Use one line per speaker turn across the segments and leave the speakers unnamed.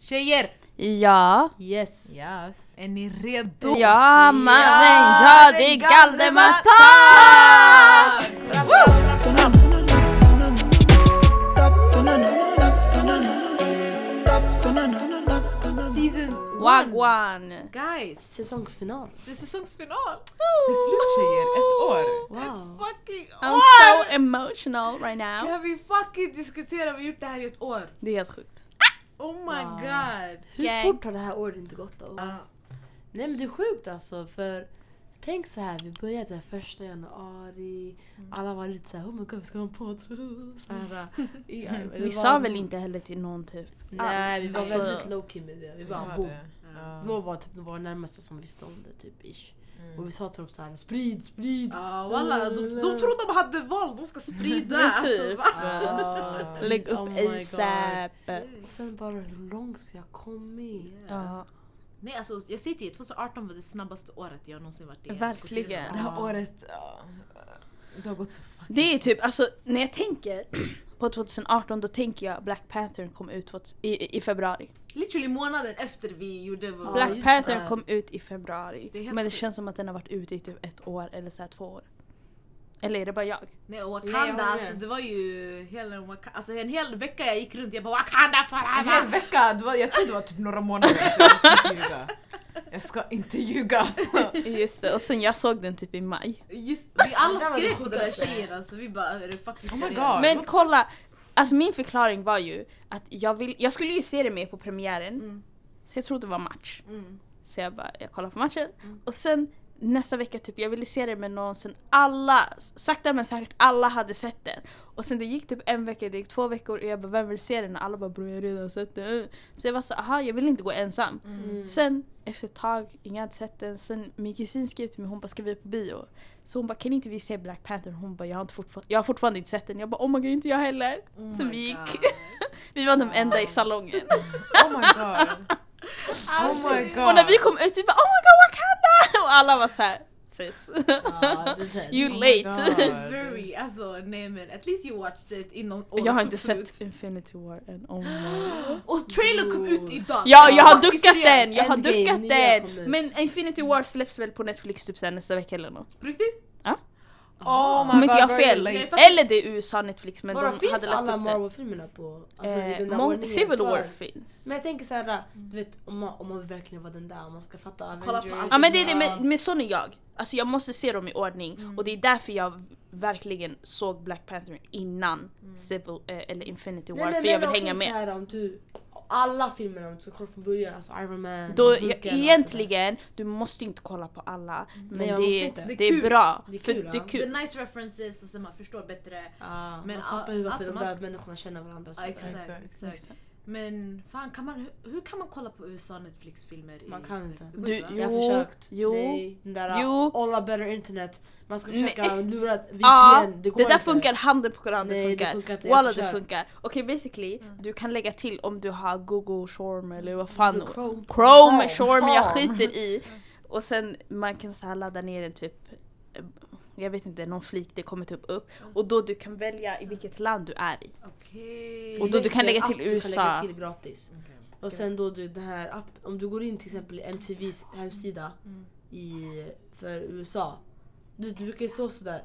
Tjejer!
Ja.
Yes.
Yes.
Är ni redo?
Ja mannen, ja
det
det
är
är Galdemarsdag!
Galdemarsdag!
Season one!
Wagwan!
Guys,
Säsongsfinal.
det är säsongsfinal! Det är slut tjejer, ett år!
Wow.
Ett fucking
I'm
år!
so emotional right now.
Kan vi fucking diskutera? Vi har gjort det här i ett år!
Det är helt sjukt.
Oh my
Wow.
god!
Hur
Gang.
fort har det här året inte gått då?
Ja,
Nej men det är sjukt alltså för tänk så här, vi började den första januari, alla var lite såhär oh my god vi ska ha en podd. Så här, ja, det
Vi
var-
sa väl inte heller till någon typ.
Nej vi var
Alltså-
väldigt low key med det,
vi
vi bara
har
boom.
det.
Det
Ja.
var bara typ våra närmaste som visste om det typ ish.
Mm.
Och vi sa till dem såhär sprid, sprid!
Ja, Ah, walla, de, de trodde de hade val, de ska sprida! alltså,
typ.
va?
Ah,
Lägg upp
oh my god.
ASAP.
Och sen bara hur långt vi har kommit.
Ja,
Nej alltså jag säger till er, 2018 var det snabbaste året jag någonsin varit i.
verkligen.
Det här
året, det har gått så fucking
Det är typ, alltså när jag tänker på 2018 då tänker jag Black Panther kom ut tvåts- i, i februari.
Literally månaden efter vi gjorde vår...
Black
just
Panther
det.
kom ut i februari.
Det är helt
men det
sjukt.
känns som att den har varit ute i typ ett år eller så här två år. Eller är det bara jag?
Nej,
Nej, jag
Wakanda,
håller
alltså
med.
det var ju hela Wakanda. Alltså en hel vecka jag gick runt jag bara Wakanda
En hel
forever!
vecka, det var, jag tror det var typ några månader. Så jag ska inte ljuga. Jag ska inte ljuga.
Oh
Just det, och sen jag såg den typ i maj.
Just, vi alla
Det var
skrek
det
på den där
sjukaste.
tjejen alltså, vi bara är det fucking
Oh my
seriöst?
god.
Men kolla, alltså min förklaring var ju att jag, vill, jag skulle ju se det med på premiären.
Mm.
Så jag trodde det var match.
Mm.
Så jag bara, jag kollar på matchen. Och sen nästa vecka typ, jag ville se det med någon sen alla, sakta men säkert, alla hade sett den. Och sen det gick typ en vecka, det gick två veckor och jag bara vem vill se den? Och alla bara bror jag har redan sett den. Så jag var så aha jag vill inte gå ensam.
Mm.
Sen efter ett tag, ingen hade sett den, sen min kusin skrev till mig, hon bara ska vi på bio? Så hon bara kan inte vi se Black Panther? Hon bara jag har, inte fortfar- jag har fortfarande inte sett den. Jag bara oh my god inte jag heller.
Oh
så
my
vi gick,
god.
vi var de enda i salongen.
Oh my god.
Alltså,
Oh my god.
Och när vi kom ut vi bara oh my god Wakanda! Och alla var såhär sis.
Ja, det är så här-
You
Oh my
late.
god.
Very, alltså nej men at least you watched it innan
Och
året
jag har
tog
inte
slut.
sett Infinity War än. Oh my.
Och trailern kom ut idag!
Ja, jag har
Fucking
duckat
seriöst.
den! Jag har
Endgame,
duckat
nya kom
den!
ut.
Men Infinity War släpps väl på Netflix typ sen nästa vecka eller något?
På riktigt?
Oh my
Om inte
god,
jag har
very
fel.
late.
fast-
Eller det är USA Netflix men
Ah. Vadå,
de
finns
hade lagt
alla
upp det.
Marvel-filmerna på alltså, i
Eh,
den där
mång-
ordningen
Civil
för?
War finns.
Men jag tänker såhär, du vet om man, om man verkligen var den där, om man ska fatta Avengers.
på allt.
Ja men det är det, men, men sån är jag. Alltså jag måste se dem i ordning
Mm.
och det är därför jag verkligen såg Black Panther innan Civil, eh, eller Infinity War
Mm. Nej, men
för jag vill
men
hänga
okej,
med.
Så här, om du, alla filmerna om du ska kolla från början, alltså Iron Man,
Då,
Hulken och allt det där.
egentligen, du måste inte kolla på alla men
Mm. Nej, jag
det,
måste inte.
det,
Det är
är
kul.
bra.
Det är
för
kul,
det
ja.
är
The
kul.
nice references och så man förstår bättre.
Ja,
Men
man
all-
fattar ju varför
allt
de
som
där
allt-
människorna känner varandra.
Ja,
där.
exakt,
Exakt,
exakt.
exakt.
Men fan, kan man, hur, hur kan man kolla på USA Netflix-filmer? i
Man kan
Sverige?
inte.
Det går
Du-
inte, va?
Jag har
Jo,
försökt.
jo,
Nej, den där uh,
jo.
alla better internet. Man ska försöka lura VPN.
Ja,
det
det,
går
där
inte.
funkar handen på koranen
Nej, det
funkar.
funkar inte, jag Mm. har
Walla det
försökt.
funkar. Okej basically, du kan lägga till om du har Google Chrome eller vad fan
Mm. Google Chrome.
Chrome, Chrome, jag
Chrome.
skiter i. Och sen man kan så här ladda ner en typ eh, jag vet inte, någon flik det kommer typ upp och då du kan välja i vilket land du är i.
Okej.
Och då du kan lägga
App
till
Du kan
USA.
lägga till gratis. Och sen då du den här app, om du går in till exempel i MTVs hemsida i, för USA. Du, du brukar ju stå sådär.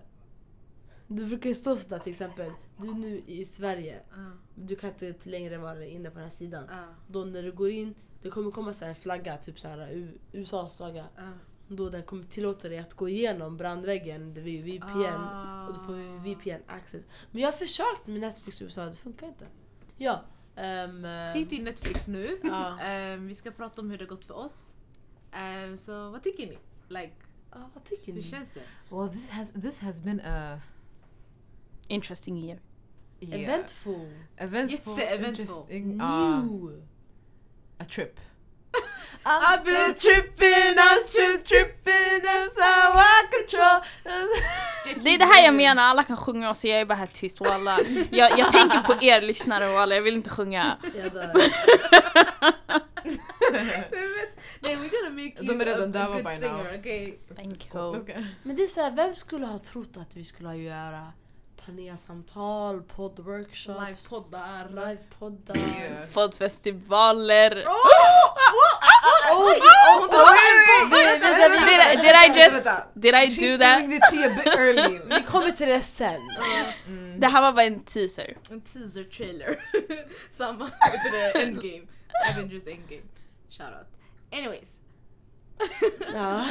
Du brukar ju stå sådär till exempel. Du är nu i Sverige.
Ja,
Du kan inte längre vara inne på den här sidan.
ja,
Då när du går in, det kommer komma så här en flagga, typ så här U- USAs flagga.
ja.
Då den kommer tillåta dig att gå igenom brandväggen vid VPN.
Ah.
Och då får vi VPN access. Men jag har försökt med Netflix i USA, det funkar inte. Ja. ehm, ehm,
Skit i Netflix nu.
ja.
Ehm, vi ska prata om hur det gått för oss. Ehm, så vad tycker ni? Like,
Ja, vad tycker
hur
ni?
känns det?
Well this has, this has been a...
Interesting year.
Yeah.
Eventful.
Eventful.
Jätteeventful.
interesting, ah,
New.
a trip.
I've
been
tripping us, tripping us out of control.
Det är det här jag menar, alla kan sjunga och så jag är bara här tyst walla. Jag, jag tänker på er lyssnare walla, jag vill inte sjunga.
Jag dör.
Nej, we're gonna make
De
you
är redan
a,
där,
a
va,
good
by now.
singer, okej?
Oh,
Thank you.
Men det är såhär, vem skulle ha trott att vi skulle göra Paneasamtal, poddworkshops.
Livepoddar.
Livepoddar.
Poddfestivaler.
Oh, det- oh,
Vänta,
oh,
vänta,
vänta,
vänta,
vänta.
Did I,
vänta,
did I
vänta,
just...
vänta.
Did I
She's
do that?
spilling the tea a bit early.
Vi kommer till det sen.
Mm.
Det här var bara en teaser.
En teaser trailer. Samma, vad heter det? Endgame. Avengers Endgame. Shoutout. Anyways.
Ja.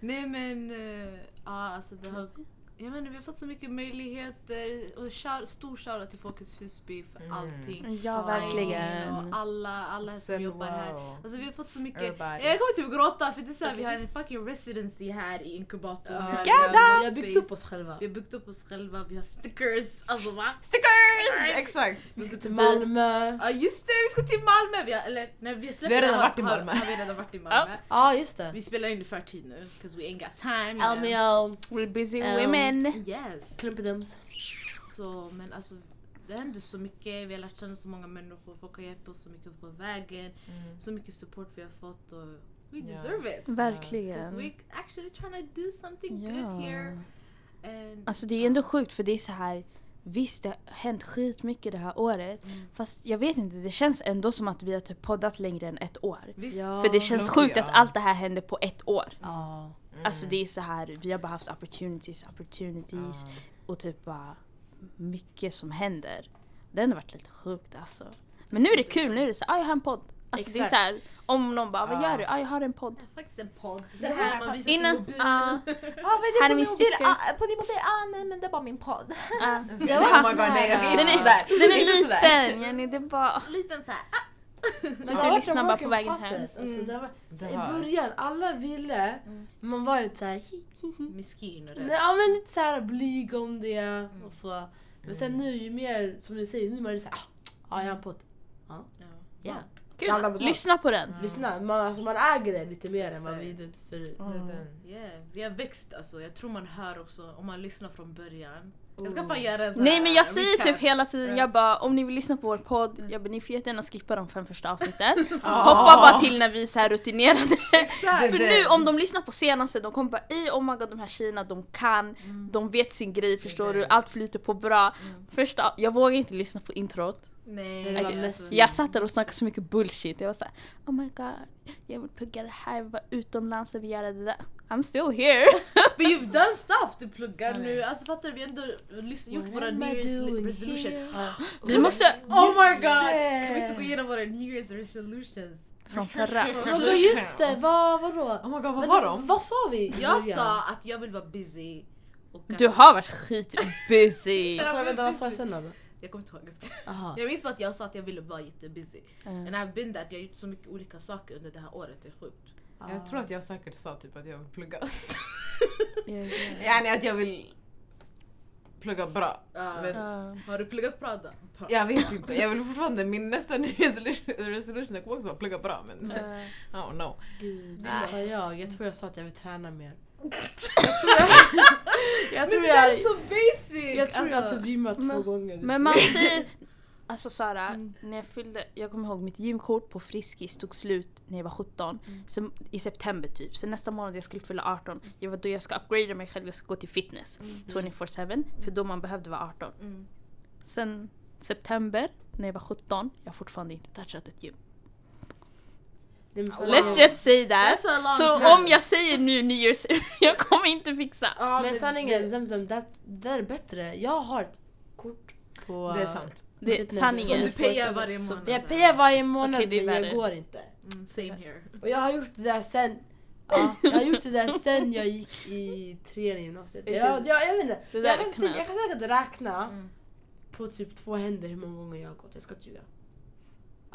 Nej men, eh, ja alltså det har, jag menar vi har fått så mycket möjligheter och shout, stor shoutout till Folkets Husby för
Mm.
allting.
Ja, verkligen.
Och alla, alla som
Sen,
jobbar här.
wow.
Alltså vi har fått så mycket,
Everybody.
jag kommer typ gråta för det är såhär vi har en fucking residency här i inkubatorn. Vi har-
Ja,
vi har
Vi har
space.
byggt upp oss själva.
Vi har byggt upp oss själva, vi har stickers, alltså va?
Stickers! Exakt.
Vi ska
Till Malmö.
Ja just det, vi ska till Malmö! Vi har, eller, när vi, släpper
Vi har redan
det här-
varit i Malmö.
Har, har vi redan varit i Malmö.
Ja, just det.
Vi spelar in i förtid nu, 'cause we ain't got time. you know.
Almeo,
We're busy
Um,
women.
Yes.
Klumpedums.
Så, men alltså det händer så mycket, vi har lärt känna så många människor, folk har hjälpt oss så mycket på vägen. Så mycket support vi har fått och we deserve
Yes.
it. Because
Verkligen.
we actually trying to do something
Ja.
good here. And
Alltså det är ändå sjukt för det är så här. Visst det har hänt skitmycket det här året.
Mm.
Fast jag vet inte, det känns ändå som att vi har typ poddat längre än ett år.
visst,
Ja.
För det känns
Loki,
sjukt att
ja. Mm.
allt det här hände på ett år.
Ja.
Alltså det är så här, vi har bara haft opportunities,
Oh.
opportunities och typ bara mycket som händer. Det har ändå varit lite sjukt alltså. Men nu är det kul, nu är det så här, ah, jag har en podd. Alltså det är
Exakt.
så här, om någon bara, vad
Ja.
gör du? Ah, jag har en podd.
faktiskt en podd. Så här man visar
Innan,
sin mobil.
ah, här är min sticker.
på din mobil, ah nej men det var min podd.
Ah.
Det
var
oh my god, nej jag kan
Den
inte
är,
sådär.
den är liten Jenny, det är bara...
Liten såhär,
Men
Ja. Lyssna bara på vägen hem.
Alltså, det var,
Det
I
var-
början, alla ville. Man var lite såhär hi, hi, hi.
"Ah, miskin och
Nej,
rädd.
ja, Mm. men lite såhär blyg om det och så. Men sen nu ju mer, som du säger, nu är man såhär ah, ja, jag har en podd.
Ja.
Ja. Alla
Kul.
betalt.
Lyssna på den.
Lyssna, man, alltså, man äger det lite mer än vad
Exakt.
vi typ gjorde förut.
Det är den.
Yeah. Vi har växt alltså, jag tror man hör också om man lyssnar från början. Jag ska fan göra en sån
Nej
här
men jag säger
recap.
typ hela tiden,
Ja.
jag bara om ni vill lyssna på vår podd, jag bara, ni får jättegärna skippa de fem första avsnitten. Hoppa bara till när vi är så här rutinerade. För
Det-
nu om de lyssnar på senaste, de kommer bara i oh my god de här tjejerna, de kan, de vet Mm. sin grej Mm. förstår
Det-
du, allt flyter på bra. Första, jag vågar inte lyssna på introt.
Nej,
Det var
alltså,
mest-
Jag satt där och snackade så mycket bullshit, jag var såhär oh my god, jag vill plugga det här, jag vill vara utomlands, jag vill göra det där. I'm still here.
But you've done stuff! Du pluggar
Så är
nu,
det.
alltså fattar du? Vi har ändå lys- gjort
What
våra
am
new
I doing
year's resolution.
here?
Vi måste,
Oh my
Just
god!
det.
Kan vi inte gå igenom våra new year's resolutions?
från förra.
Ja, men just det, vad, vadå?
Oh my god, vad
Men
var
då-
de?
Vad sa vi? i
Jag
början?
sa att jag vill vara busy. Och att-
Du har varit skitbusy.
Jag sa, vänta, vad sa jag sen då?
Jag kommer inte ihåg efter.
Aha.
Jag minns bara att jag sa att jag ville vara jättebusy.
Mm.
And I've been that, jag har gjort så mycket olika saker under det här året, det är sjukt.
Jag tror att jag säkert sa typ att jag vill plugga.
Ja,
Yani att jag vill plugga bra.
Uh.
Ja.
Men
ja.
Har du pluggat Prada? Pra-
jag vet inte, jag vill fortfarande, min nästa New Year's resolution- resolution är också bara plugga bra men I
Eh,
don't know.
Gud,
Nej.
vad sa jag? Jag tror jag sa att jag vill träna mer.
Men
Jag
det
tror
där
jag,
är så basic!
jag tror jag
alltså.
typ gymmat två
Men-
gånger. det
Men
ser-
man säger... Alltså Sara,
Mm.
när jag fyllde, jag kommer ihåg mitt gymkort på Friskis tog slut när jag var 17.
Mm.
Sen, I september typ. Sen nästa månad jag skulle fylla 18. Jag var då jag ska upgrada mig själv, jag ska gå till fitness
Mm.
24-7. För då man behövde vara 18.
Mm.
Sen september när jag var 17, jag har fortfarande inte touchat ett gym.
Det är så-
Let's just say that.
That's a long
Så
time.
om jag säger nu nyårs, jag kommer inte fixa.
Ja,
Men sanningen, Zemzem, det det där är bättre. Jag har ett kort på...
Det är sant.
Det är
Fitness.
Som
sanningen.
du payar varje
Så-
månad.
Jag pejar varje månad
Okej, det är
men
värre.
jag går inte.
Mm, same here.
Och jag har gjort det där sen... Ja, jag har gjort det där sen jag gick i trean i gymnasiet.
Det är
Jag,
kul.
jag, jag vet inte.
Det där
jag,
är
kan,
knas.
säkert- jag kan säkert räkna
Mm.
på typ två händer hur många gånger jag har gått. Jag ska inte ljuga.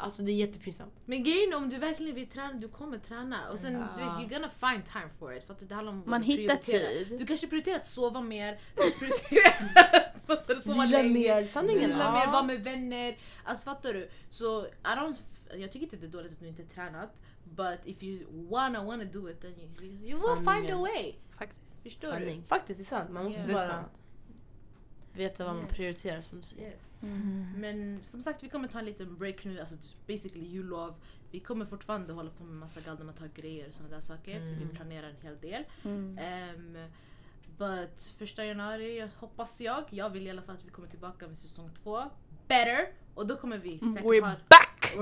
Alltså det är jättepinsamt.
Men grejen är, om du verkligen vill träna, du kommer träna. Och sen, du vet, you're gonna find time for it. För att det handlar om vad
Man
du
hittar
prioriterar.
tid.
Du kanske prioriterar att sova mer, du prioriterar fattar du, sova
Vila
länge,
mer, sanningen.
vila
ja.
mer, vara med vänner. Alltså fattar du? Så I don't, jag tycker inte det är dåligt att du inte tränat. But if you wanna, wanna do it then you, you will find a
Sanningen.
way.
Faktiskt.
Förstår
Sanning. Faktiskt, det är sant. Man måste
Ja.
Det är
bara
sant.
veta vad man
Ja.
prioriterar som du
du?
säger.
Yes.
Mm.
Men som sagt, vi kommer ta en liten break nu, alltså basically jullov. Vi kommer fortfarande hålla på med massa galna grejer och sådana där saker, för vi planerar en hel del.
Mm.
Ehm, But första januari jag hoppas jag, jag vill i alla fall att vi kommer tillbaka med säsong två. Better! Och då kommer vi säkert ha...
We're back!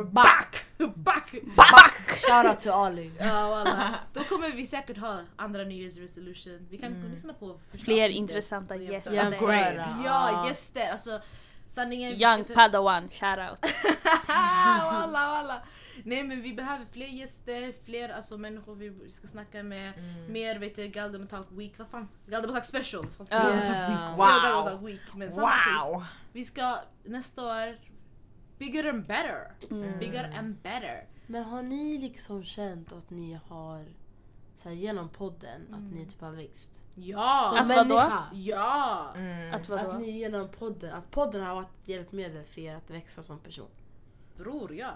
We're back! back!
Shoutout till Ali.
Ja wallah. Då kommer vi säkert ha andra new year's resolution. Vi kan lyssna på första
Mm. Fler
avsnittet
intressanta
och jämföra.
gäster.
Jämföra.
Ja gäster! Alltså sanningen... vi
Young
ska för-
padawan, shoutout.
Ah, walla, walla. Nej men vi behöver fler gäster, fler alltså, människor vi ska snacka med. Mer vet du, Galdem Talk Week, vad fan? Galdem Talk Special! Fast
Ja.
det-
Week,
Ja, Galdem
Wow!
Talk Week, men samma skit.
Wow!
Vi ska nästa år, bigger and better.
Mm.
Bigger and better.
Men har ni liksom känt att ni har, så här, genom podden, att ni typ har växt?
Ja! Alltså,
Som
Mm. Att vadå?
människa.
ja!
Mm.
Att vadå?
Att ni genom podden, att podden har varit ett hjälpmedel för er att växa som person.
Bror ja!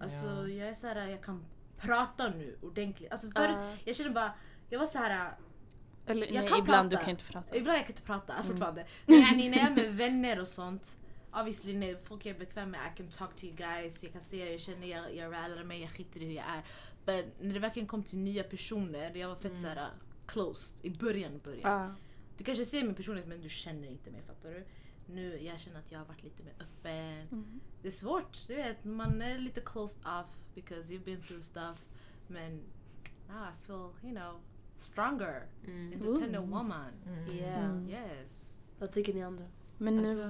Alltså
Ja.
jag är så här, jag kan prata nu ordentligt. Alltså förut,
Ja.
jag kände bara, jag var så här.
Eller,
Jag
nej,
kan
ibland
prata.
du kan inte prata.
Ibland jag kan inte prata fortfarande. Men yani, när jag är med vänner och sånt. Obviously när folk jag är bekväm med, I can talk to you guys, jag kan säga, jag känner, jag, jag rallar mig, jag skiter i hur jag är. Men när det verkligen kom till nya personer, jag var fett såhär closed i början, början.
Ja.
Du kanske ser min personlighet men du känner inte mig, fattar du? Nu, jag känner att jag har varit lite mer öppen. Det är svårt, du vet, man är lite closed off because you've been through stuff. Men now I feel, you know, stronger, independent woman.
Mm.
Yeah.
Yes.
Vad tycker ni andra?
Men nu...
Alltså,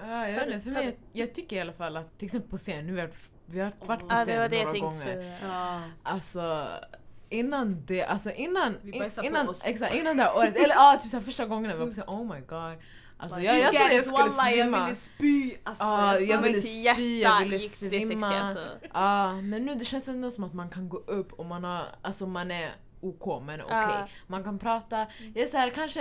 ja.
Ja, jag, vet inte, för mig, jag, jag tycker i alla fall att till exempel på scen, nu har vi har varit på
Ja, det var
scen
det jag
några
tänkte
gånger.
säga.
Ja.
Alltså innan det, alltså innan,
Vi
in,
bajsar på
innan,
oss.
exakt, innan det här året, eller ja typ såhär första gången vi var på scen, oh my god. Alltså jag, jag trodde jag skulle
Wallah, Jag
svimma.
ville spy! Alltså,
Ja,
jag
jag
sa-
ville
Till
spy,
hjärta
jag ville
gick det 60
svimma.
alltså.
Ja, men nu det känns ändå som att man kan gå upp och man har, alltså man är OK, man är okej.
Ja.
Man kan prata.
Mm.
Jag är såhär kanske,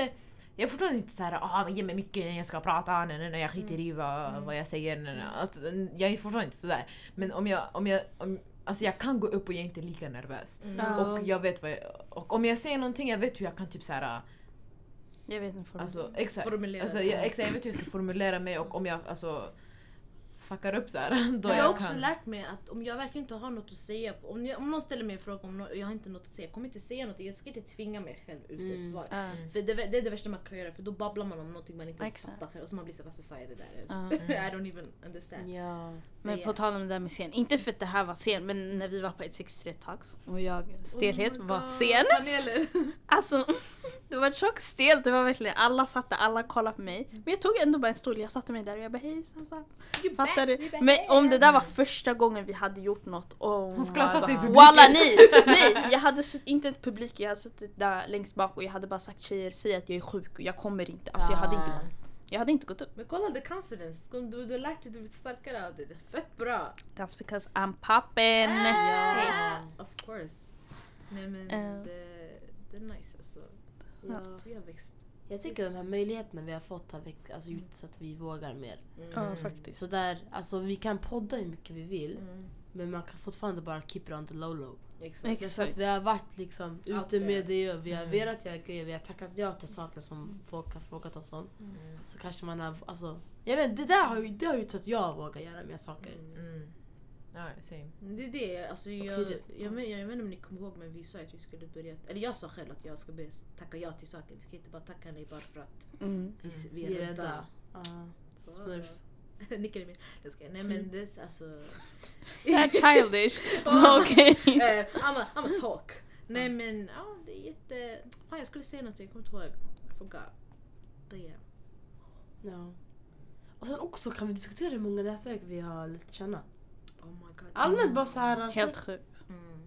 jag är fortfarande inte såhär ah, men ge mig micken, jag ska prata, nej, nej, nej, jag
Mm.
skiter i vad, vad jag säger. Nej, nej. Att, jag är fortfarande inte sådär. Men om jag, om jag, om, alltså jag kan gå upp och jag är inte lika nervös.
liksom-
Mm.
Och jag vet vad jag, och om jag säger någonting jag vet hur jag kan typ såhär,
Jag vet inte. formen.
alltså exakt.
Formulera
Alltså,
det.
jag, exakt, jag vet hur jag ska formulera mig och om jag alltså fuckar upp såhär då
jag har
jag
också
kan.
lärt mig att om jag verkligen inte har något att säga, om, jag, om någon ställer mig en fråga om nå- och jag har inte något att säga, jag kommer inte säga något, jag ska inte tvinga mig själv ut i ett svar.
Ja.
För det, det är det värsta man kan göra för då babblar man om någonting man inte ens
Exakt.
fattar själv och så man blir såhär varför sa jag det där? ens?
Ja.
I don't even understand.
Ja.
Men på tal om det där med scen, inte för att det här var sen men när vi var på 163 Talks och jag, stelhet,
Oh my
var
God.
sen.
Paneler.
Alltså, det var tjockt stelt, det var verkligen, alla satt där, alla kollade på mig. Men jag tog ändå bara en stol, jag satte mig där och jag bara hej Samsa. Fattar du? Men om det där var första gången vi hade gjort något, oh
Hon skulle ha
my
satt sig i
God.
publiken.
Walla nej! Nej! Jag hade sutt- inte ett publik, jag hade suttit där längst bak och jag hade bara sagt tjejer säg att jag är sjuk och jag kommer inte. Alltså jag hade inte, gått- jag hade inte gått upp.
Men kolla the confidence, du, du har lärt dig, du blir starkare av det. Det är fett bra!
That's because I'm poppin!
Ah. Of course. Nej men
Eh.
det, det är nice alltså.
Ja.
Vi har växt.
Jag tycker de här möjligheterna vi har fått har väckt, alltså, gjort så att vi vågar mer.
Mm.
Mm.
Ja faktiskt.
Så där, alltså, vi kan podda hur mycket vi vill
Mm.
men man kan fortfarande bara keep it on the low low.
Mm. Exakt.
Exakt.
Så att vi har varit liksom ute
there.
med det Mm. och vi har velat göra grejer, vi har tackat ja till saker som folk har frågat oss om. Så kanske man har, alltså, jag vet det där har ju, det har ju gjort så att jag vågar göra mer saker.
Mm. Ja, same.
Men Det är det, alltså jag,
hur det-
jag, men, jag vet inte om ni kommer ihåg men vi sa att vi skulle börja, eller jag sa själv att jag ska börja tacka ja till saker. Vi ska inte bara tacka nej bara för att
Mm.
vi, vi
Vi
är
är
rädda.
rädda. Ja.
Så-
Smurf. Mm.
Nickar i min. Jag ska, nej men det, alltså.
Så här childish.
Ah.
Okej.
Eh, I'm, a, I'm a talk. Nej men ja, det är jätte... Fan jag skulle säga någonting, jag kommer inte ihåg. I forgot. But yeah.
Ja. Och sen också kan vi diskutera hur många nätverk vi har lärt känna.
Oh my god.
Allmänt bara såhär, alltså,
Helt sjukt.
Mm.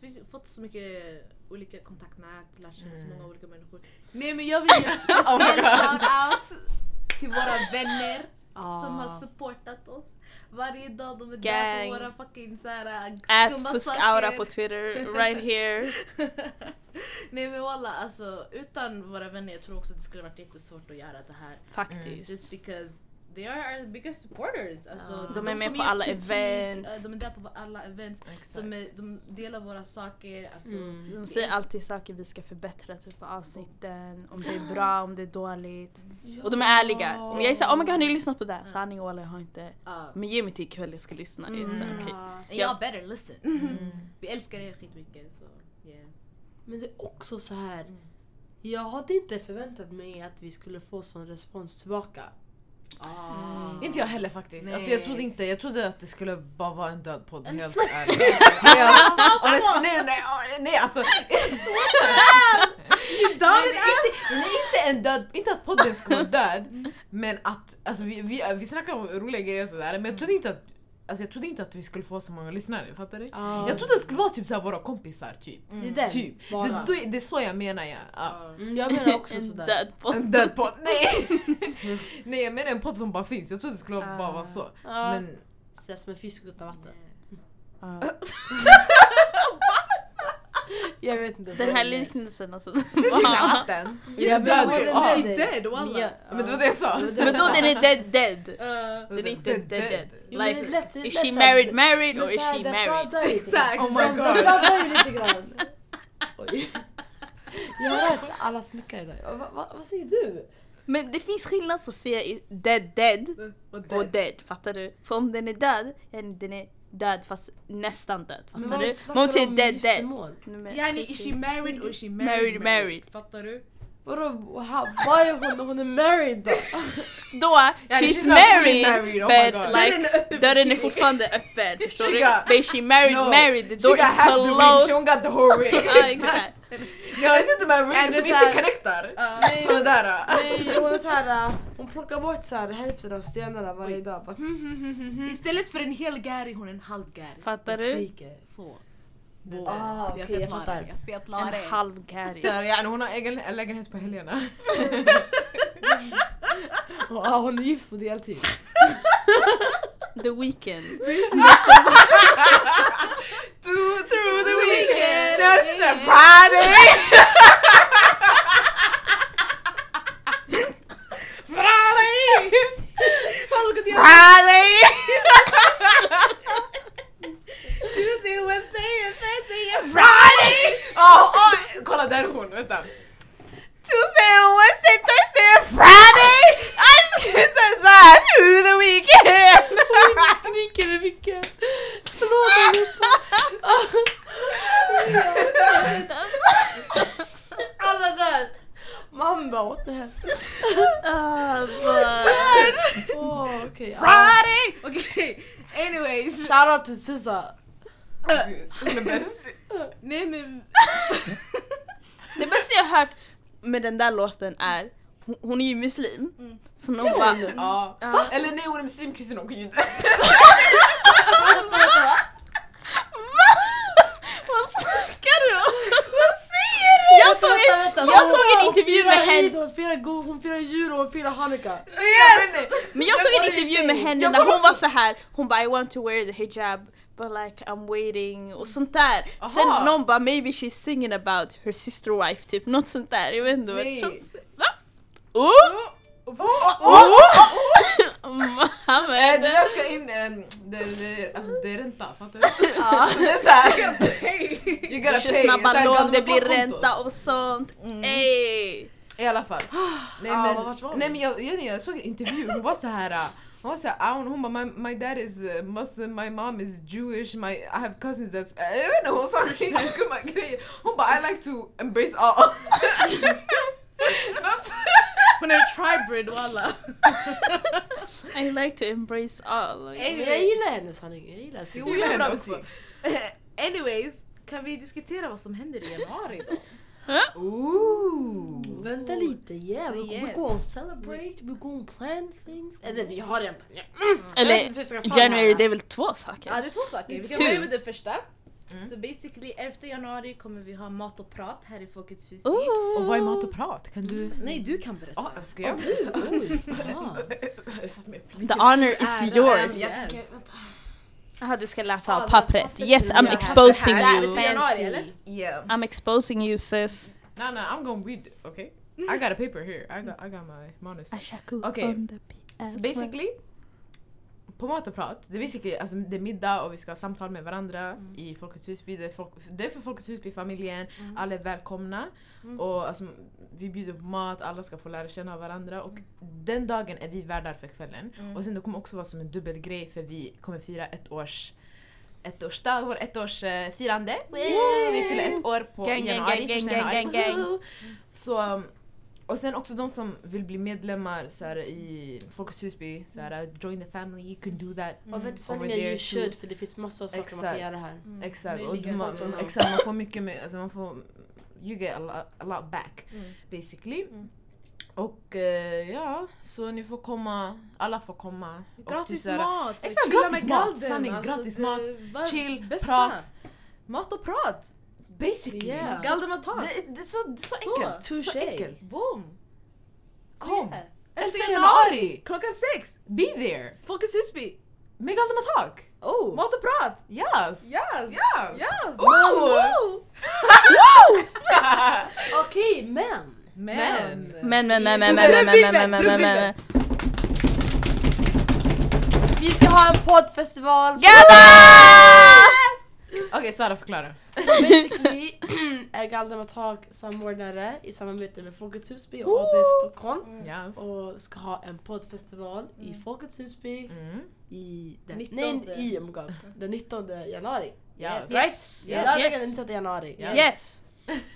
Vi har fått så mycket olika kontaktnät, lärt känna
Mm.
så många olika människor. Oh Nej men jag vill ge en speciell shout-out till våra vänner
Ah.
Ja.
som har supportat oss. Varje dag de är där
Gang.
på våra fucking såhär
Ät
skumma
fuskaura
saker. Mm,
på Twitter, right here.
Nej men walla alltså utan våra vänner jag tror också det skulle varit jättesvårt att göra det här. Just
Faktiskt.
because they are our biggest supporters. Alltså,
Ja.
det är
Ah. De är med
som
på
ger
alla
oss kritik,
event.
eh, De är där på alla events.
Exakt.
De, är, de delar våra saker. Alltså,
Mm.
De säger alltid saker vi ska förbättra, typ på avsnitten, om det är bra, om det är dåligt. Och de är ärliga. Om jag säger oh my god har ni lyssnat på det? här?" Sanning walla jag har inte.
Ja.
Men ge mig till ikväll jag ska lyssna. Jag är så här, okej.
And
Ja. Mm.
y'all better listen. Vi älskar er skitmycket. Så, yeah.
Mm. Men det är också så här. Jag hade inte förväntat mig att vi skulle få sån respons tillbaka.
Ah.
Mm.
Inte jag heller faktiskt.
Nej.
Alltså jag trodde inte, jag trodde att det skulle bara vara en död podd
En
helt ärligt. Ja, om jag ska- nej, nej, nej alltså. Död nej, inte, nej, inte en död, inte att podden skulle vara död. Men att, alltså vi, vi, vi snackar om roliga grejer och sådär men jag trodde inte att Alltså jag trodde inte att vi skulle få så många lyssnare, fattar du?
Ah.
Jag trodde det skulle vara typ såhär våra kompisar typ.
Mm. Det är den.
Typ.
Bara.
Det, då, är- det är så jag menar ja. ja.
Mm, jag menar också
En
sådär.
död podd.
En död podd, nej! nej jag menar en podd som bara finns, jag trodde det skulle bara vara så. Men
Sådär som en fisk utan vatten. Jag vet inte.
Den här liknelsen alltså.
vatten.
Jag
död.
håller
Ah,
med dig.
död, walla.
Men jag-
Men det var det jag sa.
Det var
Men
det.
då den är dead dead.
Eh,
Den är inte
Dead,
dead dead.
dead.
Jo, men det är
Like,
lätt- det är
is
lätt
she
så här-
married married
Men
or is
så här,
she
den
married?
fladdrar ju lite grann.
Oh my
Den
god.
fladdrar ju lite grann. Oj. Jag har hört alla smickar idag. Va, va, vad säger du?
Men det finns skillnad på att säga i- dead dead
Och
och dead, fattar du? För om den är död, ja, den är död fast nästan död, fattar
vad
du?
snackar
Men om
du
säger
om
dead dead.
giftermål?
Nej, men-
Yani, is she married or is she
Married,
married?
married.
Fattar du?
Vadå, ha- vad är hon? Hon är married då?
Då, she's
she's not fully
married,
married, oh my
but
god.
like dörren är fortfarande öppen, förstår
She
du?
got-
But is she married
No.
married, the
She
door is
got
Ah.
half the ring, she don't
closed.
got the whole ring.
Ja exakt.
Jag vet inte med
Är
ring
det
som
så här-
inte connectar. Sådana där. äh.
Nej, hon är såhär, hon plockar bort så här, hälften av stenarna varje dag. Bara, mm,
Istället för en hel gäri, hon är en halv gäri.
Fattar du?
Så. Wow.
Ah, okej, jag
fetlar
fattar.
det, Jag fetlar
En
det.
halv Gary.
Så här, ja, hon har egen lägenhet på helgerna.
Och, ah, hon är gift på deltid.
The Weeknd.
Through, through the weekend. Det är sådär Friday. Friday! Friday! Tuesday, Wednesday, and Thursday and Friday! Oh, oh, kolla där är hon, vänta. Tuesday, and Wednesday, Thursday and Friday! I skissar svär through the weekend!
Skriker i micken. Förlåt allihopa. Alla där. Man bara what the hell.
Ah, vad-
Åh, okej. ja.
Friday!
Okej, anyways.
Shoutout till SZA.
Ah. Hon är bäst.
Nej men
Det bästa jag har hört med den där låten är, hon, hon är ju muslim, så någon bara
Ja.
Ja.
Eller nej hon är muslim kristen, hon kan ju inte.
Vad snackar du om? Vad säger du? Jag såg en, jag såg en intervju med henne,
Hon firar, go- hon firar jul och hon firar hanukka.
Yes!
men jag såg en
var ju
intervju
tjej.
med henne
Jag
när
var
hon
också-
var så här. hon bara I want to wear the hijab but like I'm waiting och sånt där. Sen
Aha.
någon bara maybe she's singing about her sister wife typ, något sånt där. Jag vet inte vad
Nej.
det känns. Va? Oh! Oh!
Eh,
Mohammed!
Det där ska in, ehm, det, det, alltså det är ränta, fattar du? Det är såhär, you gotta pay! You gotta
Kanske snabba lån, det blir
konto.
ränta och sånt. Ey!
I alla fall. Nej
Ah,
men,
vart var vi?
nej, men jag, jag, jag såg en intervju, hon var så här. äh, Hon var så här, hon, hon bara my, my dad is uh, Muslim, my mom is Jewish, my, I have cousins that's... Äh, Jag vet inte, hon sa skumma grejer. Hon bara I like to embrace all. Något-
hon är tribrid walla.
I like to embrace all.
Men jag gillar hennes hanukka. Jag gillar SZA.
Jo, jag är bra musik. Anyways, kan vi diskutera vad som händer i januari då?
Ooh.
Vänta lite, yeah, we, we
yes.
gonna celebrate, we gonna plan things. Eller vi har redan planerat.
Eller January, det är väl två
Ja
saker?
det är två saker. Vi kan
Tur.
börja med den första.
Mm.
Så basically 11 januari kommer vi ha mat och prat här i Folkets hus.
Och vad är mat och prat? Kan du...
Nej du kan berätta.
Ja, alltså, ska jag? Jag satt mig på plats.
The honor is yours.
Yes.
Jaha, du ska läsa av
Ja,
pappret.
pappret
Yes,
till
I'm
det här.
exposing
Det här är
you.
för januari eller?
Yeah.
I'm exposing you sis.
No, no, I'm gonna read. Okay, I got a paper here. I got, I got my manus.
Ashaku
Okej.
on the p-
So basically, på mat och prat, det är basically alltså, det är middag och vi ska ha samtal med varandra
Mm.
i Folkets Husby. Det är, folk, det är för Folkets Husby-familjen,
Mm.
alla är välkomna. Och alltså, vi bjuder på mat, alla ska få lära känna varandra.
Mm.
Och den dagen är vi värdar för kvällen. Och sen det kommer också vara som en dubbel grej för vi kommer fira ett års ettårsdag, vår ettårsfirande. Vi fyller ett år på
Gang,
i januari,
gang, gang,
första
gang,
januari.
gang, gang.
Så, um, och sen också de som vill bli medlemmar så här, i Folkets Husby, så här, join the family, you can do that.
Mm.
Och vet du sanningen,
Mm. Over there
you should
too.
för det finns massor av saker man
Exakt. Mm.
kan göra här.
Mm.
Exakt, och
Möjligen.
man,
Foton.
exakt, man får mycket mer, alltså man får, you get a lot, a lot back
Mm.
basically.
Mm.
Och eh, ja, så ni får komma, alla får komma. Och typ
Gratis
så här,
mat!
exakt,
chilla
gratis
med
mat,
galden, alltså,
sanning, gratis
det
mat,
var
Chill,
bästa.
prat,
Mat och prat!
basically.
Yeah.
Galden och tak!
Det, det är så, det är så
Så,
enkelt. så
touché!
enkelt.
Boom!
Kom!
Yeah.
11
Elfte januari!
januari!
Klockan sex!
Be there!
Folkets Husby!
Med Galdemar Tak!
Oh!
Mat och prat! Yes!
Yes!
Yes!
Yes!
Ooh.
Wow.
Okej, men!
Men!
Men men men men men men men men men men men
Vi ska ha en poddfestival!
Okej Sara förklara.
Basically är Galdemar Tak samordnare i samarbete med Folkets Husby och ABF Stockholm
Mm.
Yes.
Oh.
och ska ha en poddfestival i Folkets Husby
Mm.
i den,
19.
nej, i, oh my God, den 19 januari.
Yes.
Yes.
Lördagen
Yes.
den 19 januari.
Yes.
Yes!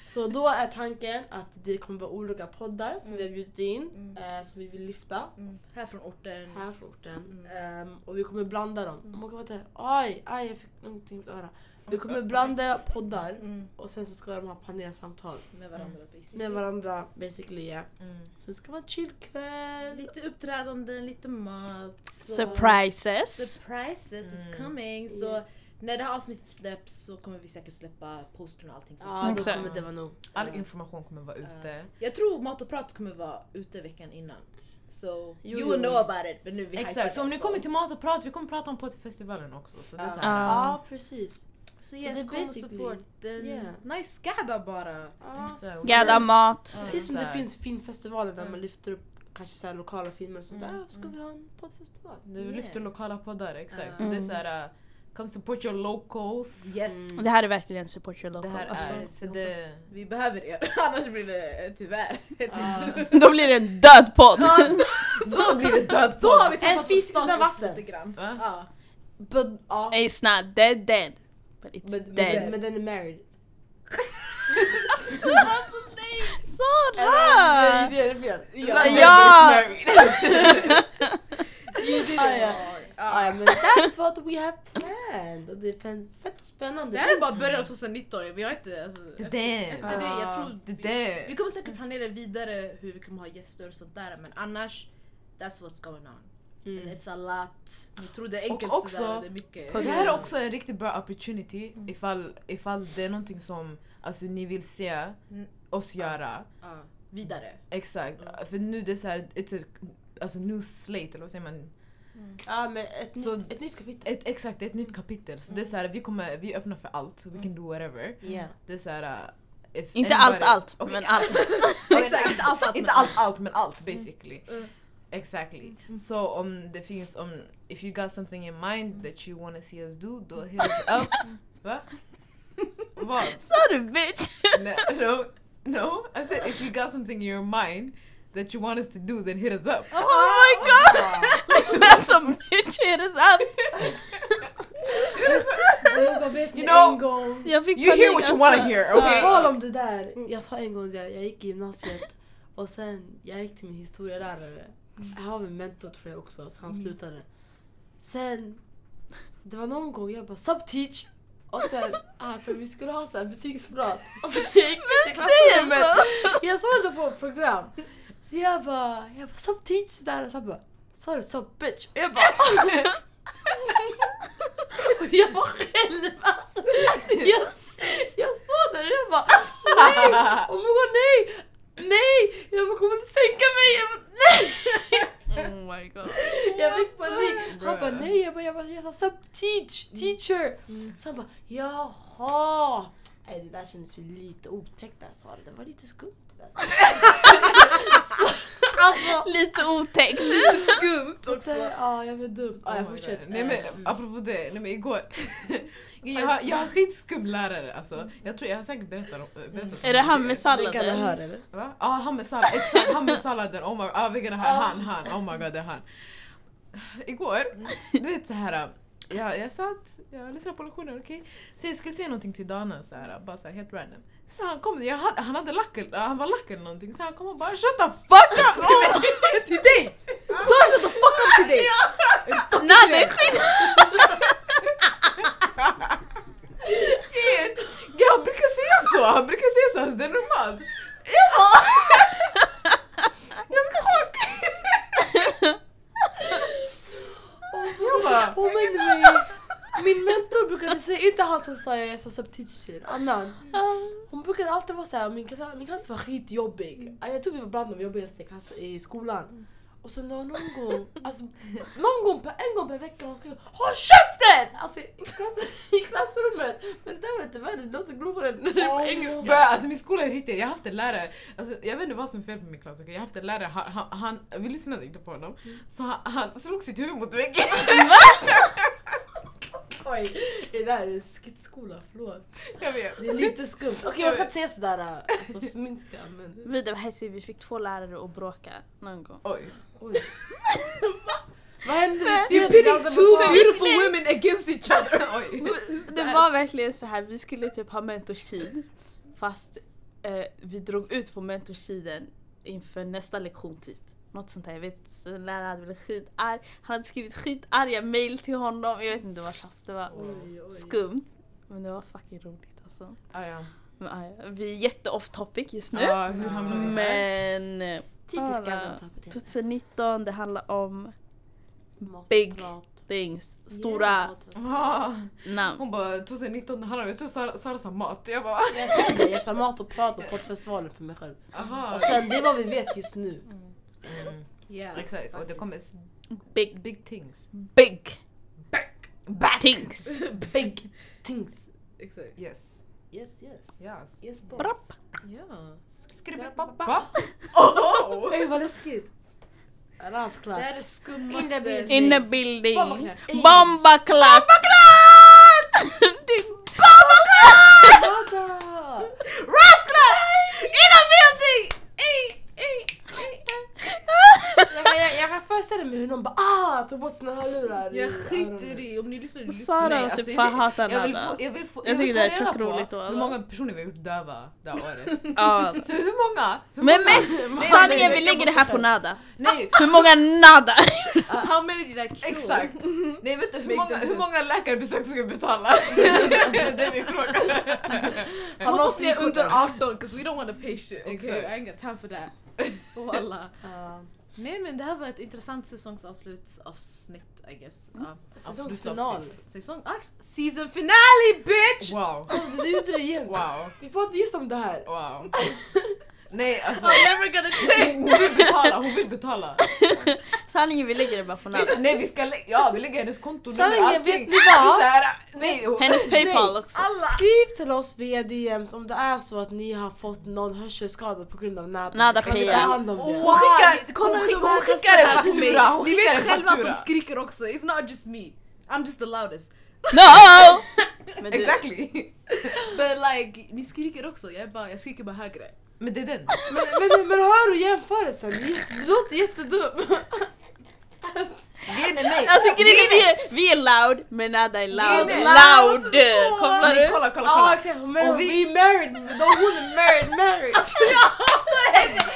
Så då är tanken att det kommer vara olika poddar som vi har bjudit in,
Mm.
eh, som vi vill lyfta
Mm. Här från orten.
här från orten. Ehm, och vi kommer blanda dem. Mm. Oh my God, aj, aj, jag fick någonting i mitt öra. Vi kommer blanda poddar
Mm.
och sen så ska de ha panelsamtal.
Med varandra basically.
Mm. med varandra basically. ja.
Mm.
Sen ska det vara en chill liksom. kväll.
Lite uppträdanden, lite mat. så-
Surprises!
Surprises is
Mm.
coming. Så
Yeah.
när det här avsnittet släpps så kommer vi säkert släppa postern och allting.
Ja, då
Exakt.
kommer det vara nog.
All information kommer vara ute.
Jag tror Mat och prat kommer vara ute veckan innan. So
Jo,
you
jo.
will know about it. Men nu är vi hypade,
Exakt, så om ni kommer till Mat och Prat, vi kommer prata om poddfestivalen också. Så det är
Ja.
så
Ja,
här,
precis.
Så
det
yes,
är
kom och
basically-
support. Den-
Yeah.
Nice gadda bara.
Ja.
så här,
Gadda mat!
Precis som det
så här.
finns filmfestivaler där
Mm.
man lyfter upp kanske så här lokala filmer och sånt där.
Mm,
Ah, Ska
mm.
vi ha en poddfestival?
Du lyfter lokala poddar, exakt. Så
Ja.
det är så här, uh, come support your locals.
Yes.
Mm.
Det här är verkligen support your
Det
local.
här
Alltså,
är, för det...
Vi behöver er, annars blir det eh, tyvärr. Typ.
Då blir det en död podd!
Ah. Då blir det död Då har vi
En
tappat
fisk
utan
utan
vatten
vatten. Ah.
lite grann.
Va?
Ja.
But, ja.
It's not dead dead. But it's
Men, men,
dead.
den, men den är married.
Alltså,
Ah.
Sara!
Vi gör det fel.
Ja.
Ja!
Ah, ja. Ah, ja, men that's what we have planned. Och det är fan- fett
Det
spännande.
här är bara början av 2019, vi har inte... Alltså,
Det
efter,
där.
efter det,
Ah.
jag tror...
Det
vi,
där.
vi kommer säkert planera vidare hur vi kommer ha gäster och sånt där men annars That's what's going on. And
Mm.
it's a lot. Ni tror det är enkelt
Och
sådär,
också-
det är mycket.
Det här är också en riktigt bra opportunity ifall, ifall det är någonting som alltså, ni vill se
Mm.
oss göra.
Ja, vidare.
Exakt. För nu det är så här, it's a, alltså new slate, eller vad säger man? Ah,
Ja, men ett,
Så-
nytt, ett nytt kapitel.
Ett, exakt, det är ett nytt kapitel. Så det är så här, vi kommer, vi öppnar för allt. We can do whatever.
Yeah.
Det är så här, uh, if
Inte allt
anybody-
allt,
Okej,
men allt.
Exakt, inte allt
inte allt allt men allt basically.
Mm.
Exactly. Så om det finns, om, if you got something in mind that you wanna see us do, då hit us up. Va? Vad?
Sa du bitch?
No, no, no, I said if you got something in your mind that you want us to do, then hit us up.
Oh my god! That's a bitch hit us up!
Jag vet
You
you
know-
en gång.
Jag fick alltså.
You hear what you wanna hear,
På
okay?
tal om det där, jag sa en gång det, jag gick i gymnasiet och sen jag gick till min historielärare. Jag har en mentor tror jag också, så han slutade. Sen, det var någon gång jag bara subteach och sen, ah, för vi skulle ha så här betygsprat. Och sen jag gick ut i klassrummet.
alltså.
Jag såg det på ett program. Så jag bara, jag bara subteach där och så han bara, sa du sub bitch? Och jag bara, och jag bara själv alltså. Jag, jag står där och jag bara, nej, oh my god nej, nej, jag bara, kommer inte sänka mig. Jag bara, nej.
Oh my god.
Jag fick
Oh
panik. Han bara nej, jag bara, jag, bara, jag sa sub-teach, teacher. Så han bara jaha. Nej det där kändes ju lite otäckt där Sara, det var lite skumt. det där.
Lite otäckt.
Och sen- Ja jag var dum. Ja jag
Oh my
fortsätter.
God. Nej men apropå det, nej men igår. jag, har, jag har skitskum lärare alltså. Jag tror jag har säkert berättat om berättat
Är det han med
Den kan du
salladen?
höra eller?
Va? Ja, han med sallad, exakt han med salladen. Oh my, ah, vilken han, han, han, oh my god det är han. Igår, du vet så här. Ja, jag satt, jag lyssnade på lektionen, okej? Så jag skulle säga någonting till Dana så här, bara så här, helt random. Så han kom, jag hade, han hade lack, eller- han var lack eller någonting, så han kom och bara shut the fuck up till mig! till dig!
Så shut the fuck up till dig!
Nej, det är skit!
Shit! Ja, han brukar säga så, han brukar säga så, alltså, det är normalt. Jag bara... jag fick chock! jag bara...
Påminn mig! Oh Min mentor brukade säga, inte han som sa jag är subteacher, annan. Hon brukade alltid vara såhär, min, kla- min klass var skitjobbig. Alltså, Jag tror vi var bland de jobbigaste i, klass, i skolan. Och sen det var någon gång, alltså, någon gång, per- en gång per vecka hon skulle HÅLL KÄFTEN! Alltså i, klass, i klassrummet. Men det där var inte värre, det låter grovare än på engelska.
Bra, alltså min skola är sitter, jag har haft en lärare, alltså, jag vet inte vad som är fel på min klass, okej? jag har haft en lärare, han, han, han, vi lyssnade inte på honom, så han, han slog sitt huvud mot väggen.
Oj, det där är skitskola, förlåt.
Jag vet.
Det är lite skumt. Okej jag ska inte säga sådär, alltså förminska men...
Vi, det var hetsigt, vi fick två lärare att bråka någon gång.
Oj.
Oj. Vad hände? Vi
You
fel?
pity
Det hade
two
varit-
beautiful women against each other. Oj.
Det var verkligen så här, vi skulle typ ha mentorstid fast eh, vi drog ut på mentorstiden inför nästa lektion typ. Något sånt där, jag vet så en lärare hade blivit skitarg, han hade skrivit skitarga mail till honom, jag vet inte vad tjafs det var.
Oj, oj.
Skumt. Men det var fucking roligt alltså.
Ah, ja.
Men, ah, ja, vi är jätte off topic just nu.
Ah, hur hamnade vi där?
Men eh,
Typiskt
Bara-
gamla tappet.
2019 det handlar om big things, stora
Ah,
namn.
Hon bara 2019, han har, jag tror Sara, Sara sa mat. Jag bara
Jag sa det, jag sa mat och prat och poddfestivalen för mig själv.
aha.
Och sen det är vad vi vet just nu.
Mm.
Yeah,
Exakt, och det kommer s-
Big,
big things.
big
Back.
things.
Big things.
Exakt.
Yes.
Yes yes.
Yes.
Yes boss.
Bra.
Ja.
Skribbelpappa. Oh!
Ey vad läskigt. Rasklatt.
Det här är det skummaste...
business.
In the building.
Bombaklädd.
Bomba clap. Din
Bada!
rasklar! In the building!
Jag, kan- jag, jag kan föreställa mig hur någon bara ah tar bort sina hörlurar. i
Jag skiter
öronen.
i om ni lyssnar, ni lyssnar.
Sara
Nej,
typ
alltså,
fan
jag-
hatar
Jag vill,
Nada.
få, jag vill, få,
Jag
jag vill
tycker
ta
det är
reda
tjock roligt
på
och
hur
alla.
många personer vi har gjort döva det här året.
Ja.
Så hur många? Hur
Men
många?
mest,
Nej,
sanningen
nej,
vi
jag
lägger det här
måste
på
ta-
Nada.
Nej,
Hur många Nada?
How many did I kill?
Exakt! Nej vet du
Make
hur många,
them
hur
do.
många läkarbesök ska jag betala? det är det min fråga.
Så Hoppas ni är under 18 because we don't wanna pay shit. Okay,
Exakt.
I ain't got time for that. Och alla.
Ah,
Nej men det här var ett intressant säsongsavslutsavsnitt I guess. Ja.
Säsongsfinal.
Säsong... Ah, season finale bitch!
Wow,
Du gjorde det igen.
wow,
Vi pratade just om det här.
wow. Nej alltså,
I'm never gonna change!
hon vill betala, hon vill betala.
Sanningen vi lägger det bara på Nada.
Nej vi ska lä- ja vi lägger hennes konto,
Sanningen, vet ni vad?
Så här, nej, hon-
Hennes Paypal också.
Skriv till oss via DMs om det är så att ni har fått någon hörselskada på grund av nätet.
Nada
så kan vi ta
Pia.
hand om det.
Wow,
Hon skickar-
kolla
hon
hur de här kastar
skickar- hon skickar en
här på mig.
faktura, hon
Ni
skickar en
vet själva att de
faktura.
skriker också, it's not just me. I'm just the loudest.
No! Men du,
Exactly!
But like, ni skriker också, jag, är bara, jag skriker bara högre.
Men det är den.
Men, men, men hör du jämförelsen? Det är jätte- Det låter jättedumt.
Grejen är nej.
Alltså grejen är, vi är, vi är loud, men Nada är loud.
Grejen är
Loud! Kommer
Nej,
du?
kolla, kolla,
Ja
kolla.
exakt, men
Och vi-
vi är married, de är married, married.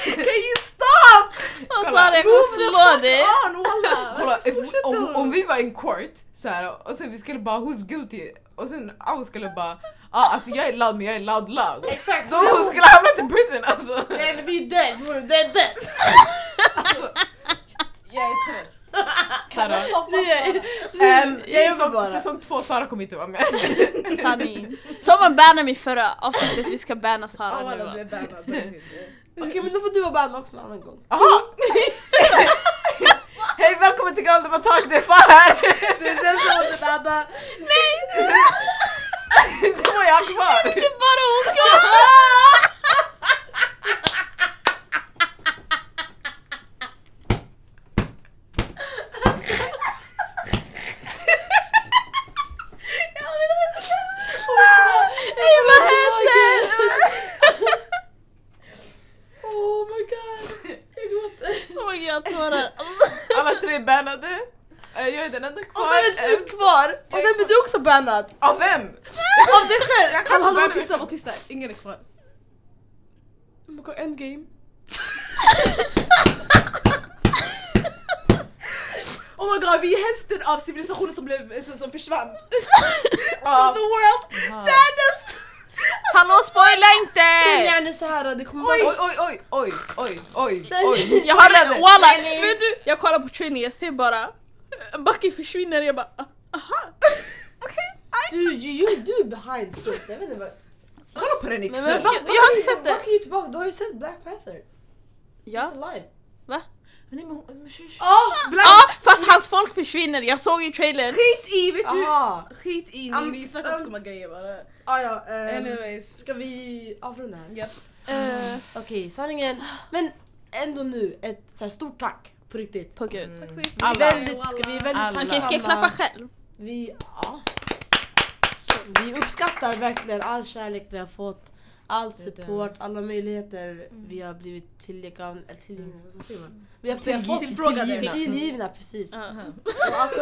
Can you stop?
Och
Kolla.
Sara jag kommer slå dig.
Fan walla!
Kolla, if, om,
hon?
om vi var en court så här, och sen vi skulle bara who's guilty och sen Aho skulle bara ah, alltså jag är loud men jag är loud loud.
Exakt.
Då hon skulle ha hamnat i prison alltså.
Men vi är dead, bror, det är dead.
alltså
Jag är trött.
Sara,
Nu är jag...
ehm,
jag jobbar
eh, säsong,
bara.
säsong två Sara kommer inte vara med.
Sanning. Som man bannade mig förra avsnittet, vi ska banna
Ja,
Sara nu
walla, det är
va?
bannat. det är inte.
Okej men då får du vara band också en annan gång.
Jaha! Hej välkommen till Galde Batag, det är Farah!
Det är sämsta ordet Ada.
det var jag kvar!
Bara hon
Nej vad händer? Oh my god. Jag gråter.
Oh kommer, jag har tårar. Alltså,
Alla tre är bannade. Eh, Jag är är den enda kvar.
Och sen är
än.
du kvar! Och sen blir du också bannad!
Av vem?
Av dig själv! Hallå hallå var
banna
tysta, var tysta!
Ingen är kvar.
Oh my god, endgame!
Oh my god, vi är hälften av civilisationen som, blev, som, som försvann.
Av
The world!
Thanos!
Hallå spoila inte!
Säg gärna såhär, det kommer
Oj,
vara...
oj, oj, oj, oj, oj,
Säg-
oj.
Jag har redan, walla!
Nej, nej.
Vet du, jag kollar på trailern, jag ser bara eh, Bucky försvinner jag bara aha!
Du, you, you do behind scenes, jag vet inte vad...
Kolla på den ikväll.
Men
jag har inte sett det.
Bucky är ju tillbaka, du har ju sett Black Panther!
Ja,
He's alive! Ah!
Nej men hon- men tjej, tjej.
Åh!
ja fast hans folk försvinner, jag såg ju trailern!
Skit i, vet du! um,
Aha!
Skit i, ni,
Am-
ni snackar om
am-
skumma grejer bara.
Ah, ja, ehm,
Anyways.
ska vi avrunda här?
Ja.
Eh,
Okej, sanningen. Men ändå nu, ett så här stort tack. På riktigt.
På gud.
Tack så mycket.
Alla.
Väldigt, ska vi är väldigt
Alla.
Okej ska jag klappa
tacksamma.
själv?
Vi, ja. vi uppskattar verkligen all kärlek vi har fått. All support, alla möjligheter
Mm.
vi har blivit tillgivna, eller tillgivna, vad säger man? Vi har vi har
Tillgi-
fått
tillfrågade.
tillgivna, tillgivna precis.
Ja.
Och Alltså,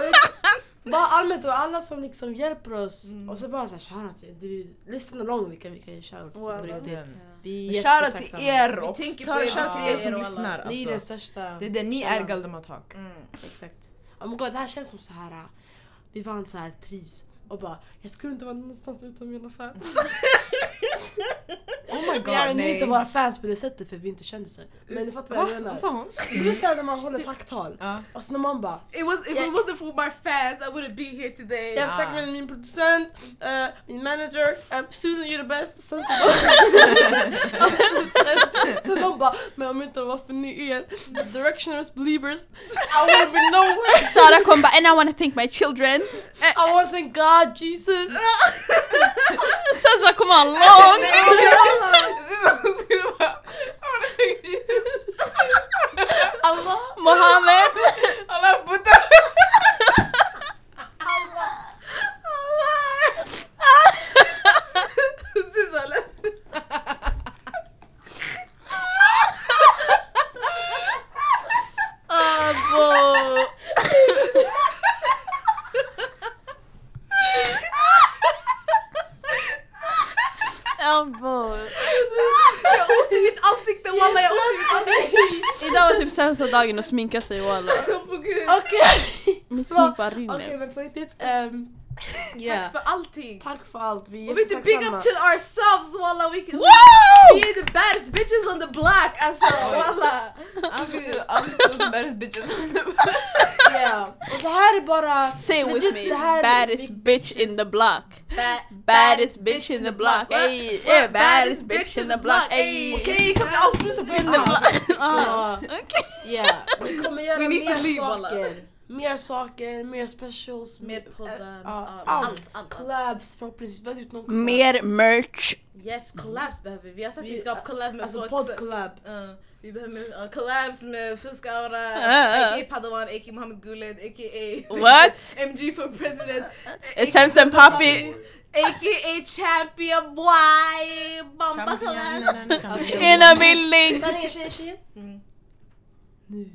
bara allmänt och alla som liksom hjälper oss
Mm.
och så bara såhär shoutout, du lyssnar långt vilka vi kan ge shoutouts
Wow.
på riktigt.
Den.
Vi är
Shoutout
jättetacksamma.
till
Vi
er och
tänker på er, vi
shoutout till
ser
er
er
som
och alla.
lyssnar.
Ni är den
Alltså.
största.
Det är det, ni är
källan.
Galdematak.
Exakt. Oh my god, det här känns som så här. äh, Vi vann så här ett pris och bara jag skulle inte vara någonstans utan mina fans.
Oh my god,
Vi är nu
nej.
inte våra fans på det sättet för vi är inte kändisar. Men ni fattar vad jag menar.
Vad sa hon?
Det är såhär när man håller tacktal
Ja.
och så när man bara
It was, if it wasn't for my fans I wouldn't be here today.
jag vill tacka med min producent, eh, min manager, eh, Susan you're the best. Sen så Sen de bara, men om inte det var för ni er, directioners, believers, I would be nowhere.
Sara kom bara and I wanna thank my children.
I want to thank God, Jesus.
Sen så kom han långt!
Hon skulle bara...
Allah, Mohammed!
Alla Buddha!
Elbow.
I mitt ansikte walla jag åt i mitt ansikte!
Idag var typ sämsta dagen att sminka sig walla.
Åh, gud.
Okej.
Mitt
Va?
smink bara
Okej
rinner.
men på riktigt, ehm,
Tack för allting!
tack för allt. Vi är
Och vet du, big
jättetacksamma.
up to ourselves walla! We, can, we
Wow!
are the baddest bitches on the block alltså walla!
Alltså, typ,
Alla baddest bitches.
Ja. Och det här är bara...
Say it with
Legit,
me,
det här är
baddest
big
bitch in the block.
Ba-
Baddest bitch in the block, ey! Yeah, baddest bitch in the block, Oh. ey!
Okej, kan vi avsluta på
In the block! Ah.
Ja,
Okej.
ja. Vi kommer göra
We need to
mer
leave, alla.
saker. Mer saker, mer specials.
Mer
mer-
poddar,
Ja,
allt, allt,
allt.
allt.
Collabs förhoppningsvis. Vi har gjort någon collab.
Mer merch!
Yes,
Mm-hmm.
collabs behöver vi. Vi har sagt att vi
Vi-
ska
uh,
ha collab med
Alltså
folk.
podd-collab.
Ja, vi behöver uh, collabs med Fuskaura,
Ah.
a.k.a. Padawan, a.k.a. Mohammed Guled, a.k.a.
What?
MG for president, a.k.a.
It's Samson Papi
a.k.a. champion boy, bomba collabs.
in a building!
Sanningen tjejer, tjejer.
Mm.
Nu.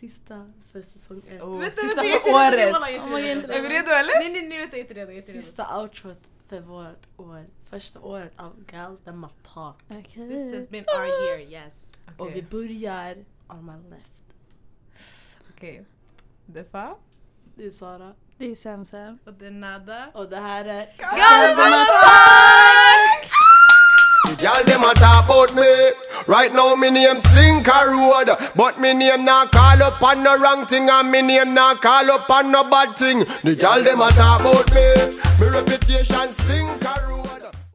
Sista för säsong ett.
Oh,
Vänta,
sista
vänta, jag är inte
för
redo,
året.
wallah, jag är inte redo.
Oh my God.
Är vi redo eller?
Nej, nej, nej, vänta, jag är inte redo. Jag är inte redo.
Sista outrot för vårt år. Första året av Galdematak.
This has been our year, yes.
Och vi börjar on my left.
Okej. Defa?
Det är Sara.
Det är Sam Sam.
Och det är nada.
Och det här är...
Y'all dem a talk about me. Right now me name Slinker Road, but me name not call up on no wrong thing and me name not call up on no bad thing. The y'all dem a talk about me. Me reputation stink